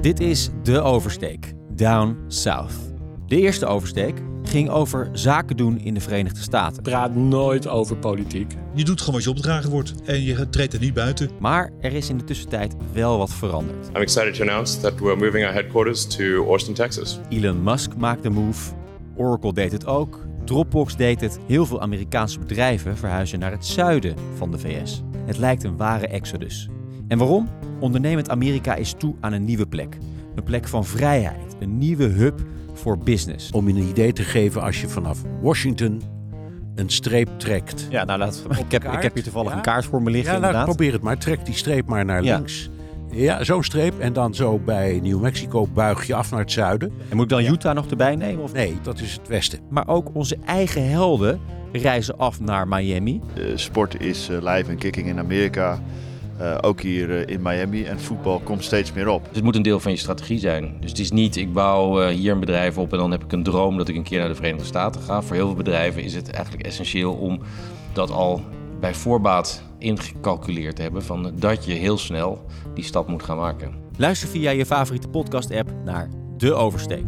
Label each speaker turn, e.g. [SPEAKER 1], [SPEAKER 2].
[SPEAKER 1] Dit is De Oversteek, Down South. De eerste oversteek ging over zaken doen in de Verenigde Staten.
[SPEAKER 2] praat nooit over politiek.
[SPEAKER 3] Je doet gewoon wat je opgedragen wordt en je treedt er niet buiten.
[SPEAKER 1] Maar er is in de tussentijd wel wat veranderd.
[SPEAKER 4] I'm excited to announce that we're moving our headquarters to Austin, Texas.
[SPEAKER 1] Elon Musk maakte move, Oracle deed het ook, Dropbox deed het. Heel veel Amerikaanse bedrijven verhuizen naar het zuiden van de VS. Het lijkt een ware exodus. En waarom? Ondernemend Amerika is toe aan een nieuwe plek. Een plek van vrijheid, een nieuwe hub voor business.
[SPEAKER 5] Om je een idee te geven als je vanaf Washington een streep trekt.
[SPEAKER 1] Ja, nou, laat, ik, heb, ik
[SPEAKER 5] kaart?
[SPEAKER 1] heb hier toevallig
[SPEAKER 5] Ja.
[SPEAKER 1] een kaart voor me liggen,
[SPEAKER 5] Ja, nou,
[SPEAKER 1] inderdaad.
[SPEAKER 5] probeer het maar. Trek die streep maar naar
[SPEAKER 1] Ja.
[SPEAKER 5] links. Ja, zo'n streep. En dan zo bij New Mexico buig je af naar het zuiden.
[SPEAKER 1] En moet ik dan Utah nog erbij nemen? Of...
[SPEAKER 5] Nee, dat is het westen.
[SPEAKER 1] Maar ook onze eigen helden reizen af naar Miami.
[SPEAKER 6] Eh, sport is eh, live en kicking in Amerika, eh, ook hier eh, in Miami. En voetbal komt steeds meer op.
[SPEAKER 7] Dus het moet een deel van je strategie zijn. Dus het is niet, ik bouw eh, hier een bedrijf op en dan heb ik een droom dat ik een keer naar de Verenigde Staten ga. Voor heel veel bedrijven is het eigenlijk essentieel om dat al bij voorbaat ingecalculeerd te hebben. Van dat je heel snel die stap moet gaan maken.
[SPEAKER 1] Luister via je favoriete podcast-app naar De Oversteek.